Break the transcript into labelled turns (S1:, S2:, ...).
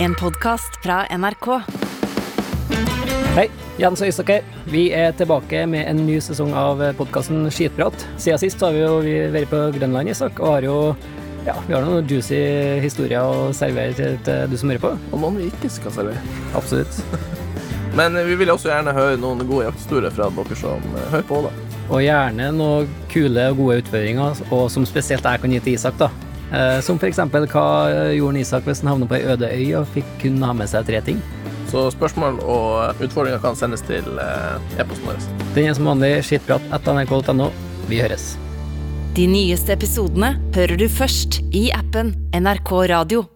S1: En podkast fra NRK.
S2: Hei, Jens og Øystein. Vi er tilbake med en ny sesong av podkasten Skitprat. Siden sist har vi jo vi vært på Grønland Isak, og har jo ja, vi har noen juicy historier å servere til, til du som hører på.
S3: Og noen vi ikke skal servere.
S2: Absolutt.
S3: Men eh, vi vil også gjerne høre noen gode jakthistorier fra dere som eh, hører på. da.
S2: Og gjerne noen kule og gode utføringer, og som spesielt jeg kan gi til Isak, da. Eh, Som for eksempel hva gjorde Isak hvis han havnet på ei øde øy og fikk kun ha med seg tre ting?
S3: Så spørsmål og eh, utfordringer kan sendes til eh, e-posten vår.
S2: Den er som vanlig skitprat.nrk.no. Vi høres.
S1: De nyeste episodene hører du først i appen NRK Radio.